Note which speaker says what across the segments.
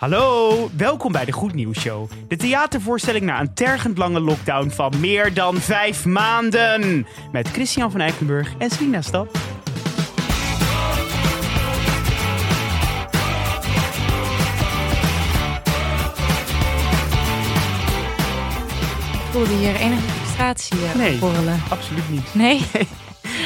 Speaker 1: Hallo, welkom bij de Goed Nieuws Show. De theatervoorstelling na een tergend lange lockdown van meer dan vijf maanden. Met Christian van Eikenburg en Selina Stap.
Speaker 2: voelde hier enige frustratie eh,
Speaker 1: Nee.
Speaker 2: opborrelen.
Speaker 1: Absoluut niet.
Speaker 2: Nee?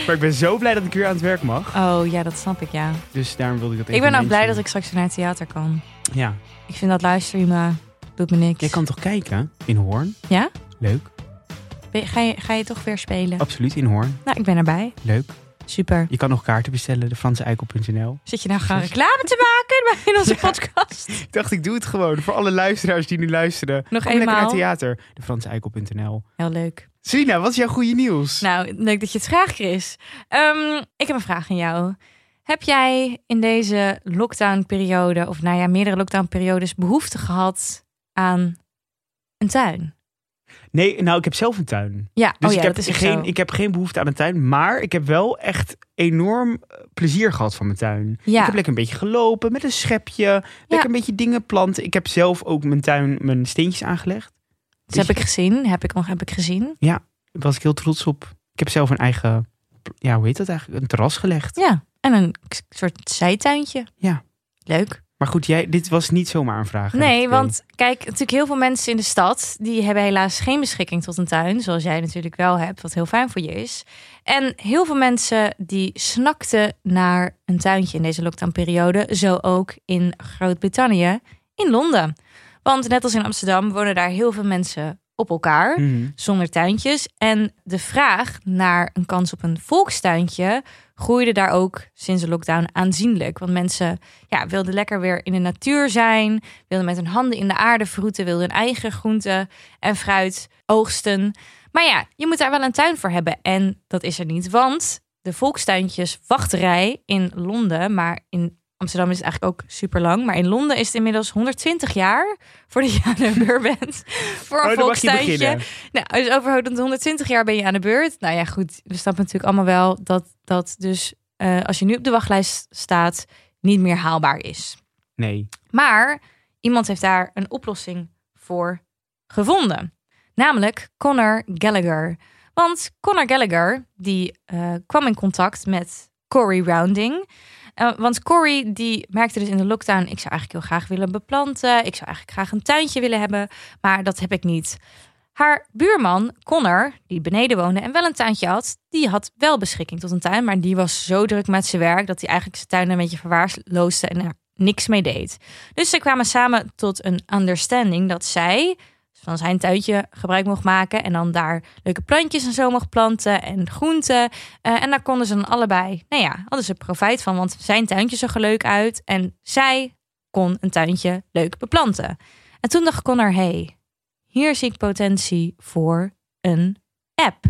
Speaker 1: Maar ik ben zo blij dat ik weer aan het werk mag.
Speaker 2: Oh ja, dat snap ik, ja.
Speaker 1: Dus daarom wilde ik dat
Speaker 2: ik
Speaker 1: even
Speaker 2: ben ook blij dat
Speaker 1: mentionen.
Speaker 2: ik straks weer naar het theater kan.
Speaker 1: Ja,
Speaker 2: Ik vind dat livestreamen, doet me niks.
Speaker 1: jij kan toch kijken in Hoorn?
Speaker 2: Ja?
Speaker 1: Leuk.
Speaker 2: Ben- Ga je, ga je toch weer spelen?
Speaker 1: Absoluut in Hoorn.
Speaker 2: Nou, ik ben erbij.
Speaker 1: Leuk.
Speaker 2: Super.
Speaker 1: Je kan nog kaarten bestellen, defranseeikel.nl.
Speaker 2: Zit je nou gaan reclame te maken bij- in onze
Speaker 1: Ja.
Speaker 2: podcast?
Speaker 1: Ik dacht, ik doe het gewoon voor alle luisteraars die nu luisteren.
Speaker 2: Nog
Speaker 1: Kom lekker naar
Speaker 2: eenmaal.
Speaker 1: theater, defranseeikel.nl.
Speaker 2: Heel leuk.
Speaker 1: Selina, wat is jouw goede nieuws?
Speaker 2: Nou, leuk dat je het vraagt, Chris. Ehm, ik heb een vraag aan jou. Heb jij in deze lockdownperiode, of nou ja, meerdere lockdownperiodes, behoefte gehad aan een tuin?
Speaker 1: Nee, nou, ik heb zelf een tuin.
Speaker 2: Ja,
Speaker 1: Dus
Speaker 2: oh ja,
Speaker 1: ik, heb
Speaker 2: dat is ook
Speaker 1: geen,
Speaker 2: zo.
Speaker 1: ik heb geen behoefte aan een tuin. Maar ik heb wel echt enorm eh, plezier gehad van mijn tuin. Ik
Speaker 2: ja.
Speaker 1: heb lekker een beetje gelopen met een schepje. Lekker een beetje dingen planten. Ik heb zelf ook mijn tuin, mijn steentjes aangelegd.
Speaker 2: Dat Dus heb ik gezien. Heb ik nog heb ik gezien.
Speaker 1: Daar was ik heel trots op. Ik heb zelf een eigen, ja, hoe heet dat eigenlijk? Een terras gelegd.
Speaker 2: Ja. En een k- soort zijtuintje.
Speaker 1: Ja.
Speaker 2: Leuk.
Speaker 1: Maar goed, jij, dit was niet zomaar een vraag. hè?
Speaker 2: Nee,
Speaker 1: Ik weet.
Speaker 2: want kijk, natuurlijk heel veel mensen in de stad... die hebben helaas geen beschikking tot een tuin. Zoals jij natuurlijk wel hebt, wat heel fijn voor je is. En heel veel mensen die snakten naar een tuintje in deze lockdownperiode. Zo ook in Groot-Brittannië, in Londen. Want net als in Amsterdam wonen daar heel veel mensen op elkaar...
Speaker 1: Mhm.
Speaker 2: zonder tuintjes. En de vraag naar een kans op een volkstuintje groeide daar ook sinds de lockdown aanzienlijk. Want mensen ja, wilden lekker weer in de natuur zijn, wilden met hun handen in de aarde vroeten, wilden hun eigen groenten en fruit oogsten. Maar ja, je moet daar wel een tuin voor hebben. En dat is er niet, want de volkstuintjeswachterij in Londen, maar in Amsterdam is het eigenlijk ook super lang. Maar in Londen is het inmiddels 120 jaar voordat je aan de beurt bent. Voor een
Speaker 1: Oh, dan mag je
Speaker 2: volkstuintje.
Speaker 1: beginnen.
Speaker 2: Nou, dus over 120 jaar ben je aan de beurt. Nou ja, goed, we snappen natuurlijk allemaal wel dat dat dus eh, als je nu op de wachtlijst staat, niet meer haalbaar is.
Speaker 1: Nee.
Speaker 2: Maar iemand heeft daar een oplossing voor gevonden. Namelijk Connor Gallagher. Want Connor Gallagher die eh, kwam in contact met Cory Rounding. Eh, want Cory die merkte dus in de lockdown... ik zou eigenlijk heel graag willen beplanten. Ik zou eigenlijk graag een tuintje willen hebben. Maar dat heb ik niet. Haar buurman Connor, die beneden woonde en wel een tuintje had... die had wel beschikking tot een tuin. Maar die was zo druk met zijn werk... dat hij eigenlijk zijn tuin een beetje verwaarloosde... en er niks mee deed. Dus ze kwamen samen tot een understanding dat zij van zijn tuintje gebruik mocht maken en dan daar leuke plantjes en zo mocht planten en groenten. Eh, en daar konden ze dan allebei, nou ja, hadden ze profijt van, want zijn tuintje zag er leuk uit en zij kon een tuintje leuk beplanten. En toen dacht Connor, hey, hier zie ik potentie voor een app.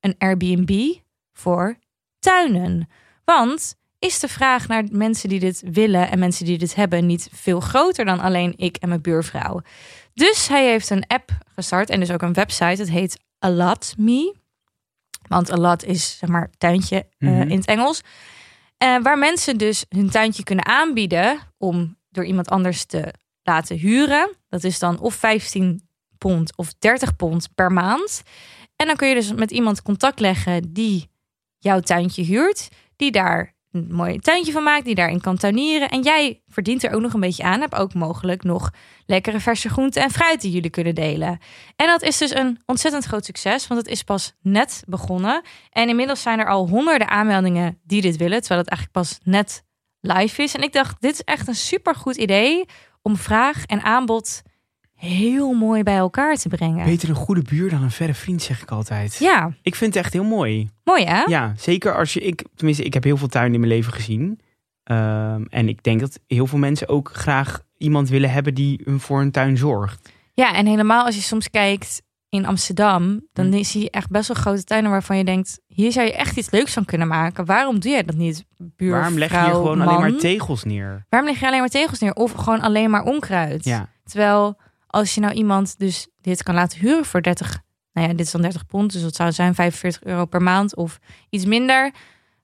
Speaker 2: Een Airbnb voor tuinen. Want is de vraag naar mensen die dit willen en mensen die dit hebben niet veel groter dan alleen ik en mijn buurvrouw? Dus hij heeft een app gestart en dus ook een website. Het heet A Lot Me. Want a lot is zeg maar tuintje eh,
Speaker 1: Mhm.
Speaker 2: in het Engels. Eh, waar mensen dus hun tuintje kunnen aanbieden om door iemand anders te laten huren. Dat is dan of 15 pond of 30 pond per maand. En dan kun je dus met iemand contact leggen die jouw tuintje huurt, die daar een mooi tuintje van maakt, die daarin kan tuinieren. En jij verdient er ook nog een beetje aan, heb ook mogelijk nog lekkere verse groenten en fruit die jullie kunnen delen. En dat is dus een ontzettend groot succes, want het is pas net begonnen. En inmiddels zijn er al honderden aanmeldingen die dit willen, terwijl het eigenlijk pas net live is. En ik dacht, dit is echt een supergoed idee om vraag en aanbod heel mooi bij elkaar te brengen.
Speaker 1: Beter een goede buur dan een verre vriend, zeg ik altijd.
Speaker 2: Ja,
Speaker 1: Ik vind het echt heel mooi.
Speaker 2: mooi hè?
Speaker 1: Ja, zeker als je. Ik, tenminste, ik heb heel veel tuin in mijn leven gezien. Ehm, en ik denk dat heel veel mensen ook graag iemand willen hebben die hun voor hun tuin zorgt.
Speaker 2: Ja, en helemaal als je soms kijkt in Amsterdam, dan
Speaker 1: Hm.
Speaker 2: zie je echt best wel grote tuinen waarvan je denkt, hier zou je echt iets leuks van kunnen maken. Waarom doe jij dat niet, buurvrouw,
Speaker 1: Waarom leg je hier gewoon
Speaker 2: man?
Speaker 1: alleen maar tegels neer?
Speaker 2: Waarom leg je alleen maar tegels neer? Of gewoon alleen maar onkruid?
Speaker 1: Ja,
Speaker 2: Terwijl als je nou iemand dus dit kan laten huren voor 30, nou ja, dit is dan 30 pond, dus dat zou zijn 45 euro per maand of iets minder,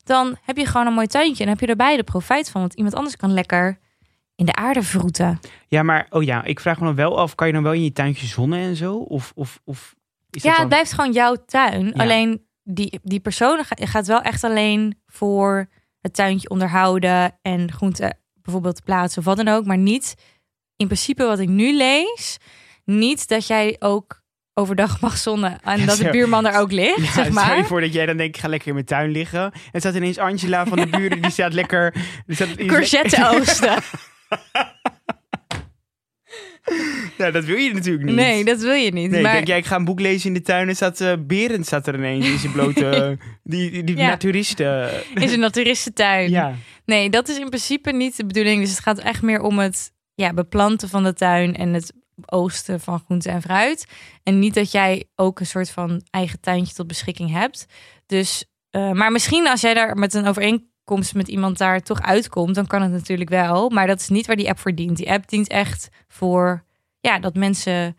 Speaker 2: dan heb je gewoon een mooi tuintje en heb je er beide profijt van, want iemand anders kan lekker in de aarde vroeten.
Speaker 1: Ja, maar oh ja, ik vraag me dan wel af, kan je dan wel in je tuintje zonnen en zo? Of, of, of is dat
Speaker 2: Ja, het
Speaker 1: dan...
Speaker 2: blijft gewoon jouw tuin.
Speaker 1: Ja.
Speaker 2: Alleen die, die persoon ga- gaat wel echt alleen voor het tuintje onderhouden en groenten bijvoorbeeld plaatsen of wat dan ook. Maar niet, in principe wat ik nu lees, niet dat jij ook overdag mag zonnen en
Speaker 1: Ja,
Speaker 2: dat de
Speaker 1: zo.
Speaker 2: buurman er ook ligt,
Speaker 1: Ja,
Speaker 2: zeg
Speaker 1: stel je
Speaker 2: maar.
Speaker 1: voor dat jij dan denkt, ik ga lekker in mijn tuin liggen. En er staat ineens Angela van de buren, die staat lekker... Die staat, die is
Speaker 2: Courgette oosten.
Speaker 1: le- nou, dat wil je natuurlijk niet.
Speaker 2: Nee, dat wil je niet.
Speaker 1: Nee,
Speaker 2: maar
Speaker 1: ik denk, jij, ik ga een boek lezen in de tuin en staat eh, Berend staat er ineens in zijn blote... die die, die
Speaker 2: Ja.
Speaker 1: naturisten.
Speaker 2: is een naturistentuin.
Speaker 1: Ja.
Speaker 2: Nee, dat is in principe niet de bedoeling. Dus het gaat echt meer om het ja, beplanten van de tuin en het oosten van groente en fruit. En niet dat jij ook een soort van eigen tuintje tot beschikking hebt. Dus, eh, maar misschien als jij daar met een overeenkomst met iemand daar toch uitkomt, dan kan het natuurlijk wel. Maar dat is niet waar die app voor dient. Die app dient echt voor ja, dat mensen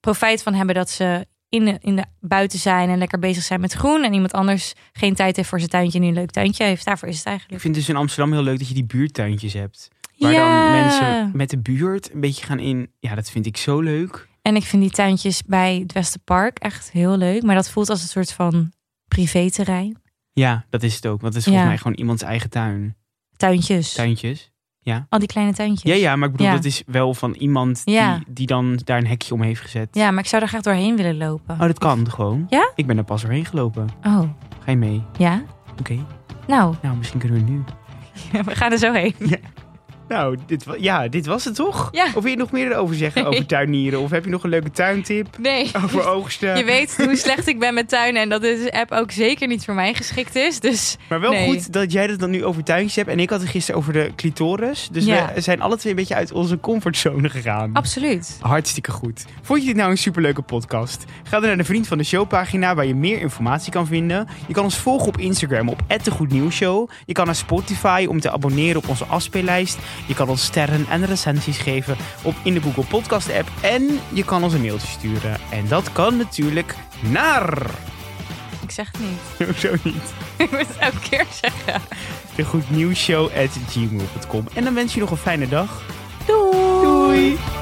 Speaker 2: profijt van hebben dat ze in de, in de buiten zijn en lekker bezig zijn met groen. En iemand anders geen tijd heeft voor zijn tuintje en nu een leuk tuintje heeft. Daarvoor is het eigenlijk.
Speaker 1: Ik vind dus in Amsterdam heel leuk dat je die buurtuintjes hebt. Waar dan mensen met de buurt een beetje gaan in. Ja, dat vind ik zo leuk.
Speaker 2: En ik vind die tuintjes bij het Westerpark echt heel leuk. Maar dat voelt als een soort van privéterrein.
Speaker 1: Ja, dat is het ook. Want het is volgens
Speaker 2: Ja.
Speaker 1: mij gewoon iemands eigen tuin.
Speaker 2: Tuintjes.
Speaker 1: Tuintjes.
Speaker 2: Al die kleine tuintjes.
Speaker 1: Ja, ja, maar ik bedoel,
Speaker 2: Ja.
Speaker 1: dat is wel van iemand
Speaker 2: Ja.
Speaker 1: die, die dan daar een hekje om heeft gezet.
Speaker 2: Ja, maar ik zou daar graag doorheen willen lopen.
Speaker 1: Oh, dat kan gewoon.
Speaker 2: Ja?
Speaker 1: Ik ben er pas doorheen gelopen.
Speaker 2: Oh,
Speaker 1: Ga je mee?
Speaker 2: ja?
Speaker 1: Oké.
Speaker 2: Nou,
Speaker 1: Nou, misschien kunnen we nu.
Speaker 2: we gaan er zo heen.
Speaker 1: Nou, dit, wa- ja, dit was het toch?
Speaker 2: Ja.
Speaker 1: Of wil je nog meer erover zeggen
Speaker 2: Nee.
Speaker 1: over tuinieren? Of heb je nog een leuke tuintip
Speaker 2: Nee.
Speaker 1: over oogsten?
Speaker 2: Je weet hoe slecht ik ben met tuinen en dat deze app ook zeker niet voor mij geschikt is. Dus
Speaker 1: Maar wel
Speaker 2: Nee.
Speaker 1: goed dat jij dat dan nu over tuintjes hebt. En ik had het gisteren over de clitoris. Dus
Speaker 2: Ja.
Speaker 1: we zijn alle twee een beetje uit onze comfortzone gegaan.
Speaker 2: absoluut.
Speaker 1: Hartstikke goed. Vond je dit nou een superleuke podcast? Ga dan naar de Vriend van de Show pagina waar je meer informatie kan vinden. Je kan ons volgen op Instagram op @degoednieuwsshow. Je kan naar Spotify om te abonneren op onze afspeellijst. Je kan ons sterren en recensies geven op in de Google Podcast app. En je kan ons een mailtje sturen. En dat kan natuurlijk naar...
Speaker 2: Ik zeg het niet.
Speaker 1: Zo niet.
Speaker 2: Ik moet het elke keer zeggen.
Speaker 1: De Goed Nieuws Show at gmail.com. En dan wens je nog een fijne dag.
Speaker 2: Doei.
Speaker 1: Doei.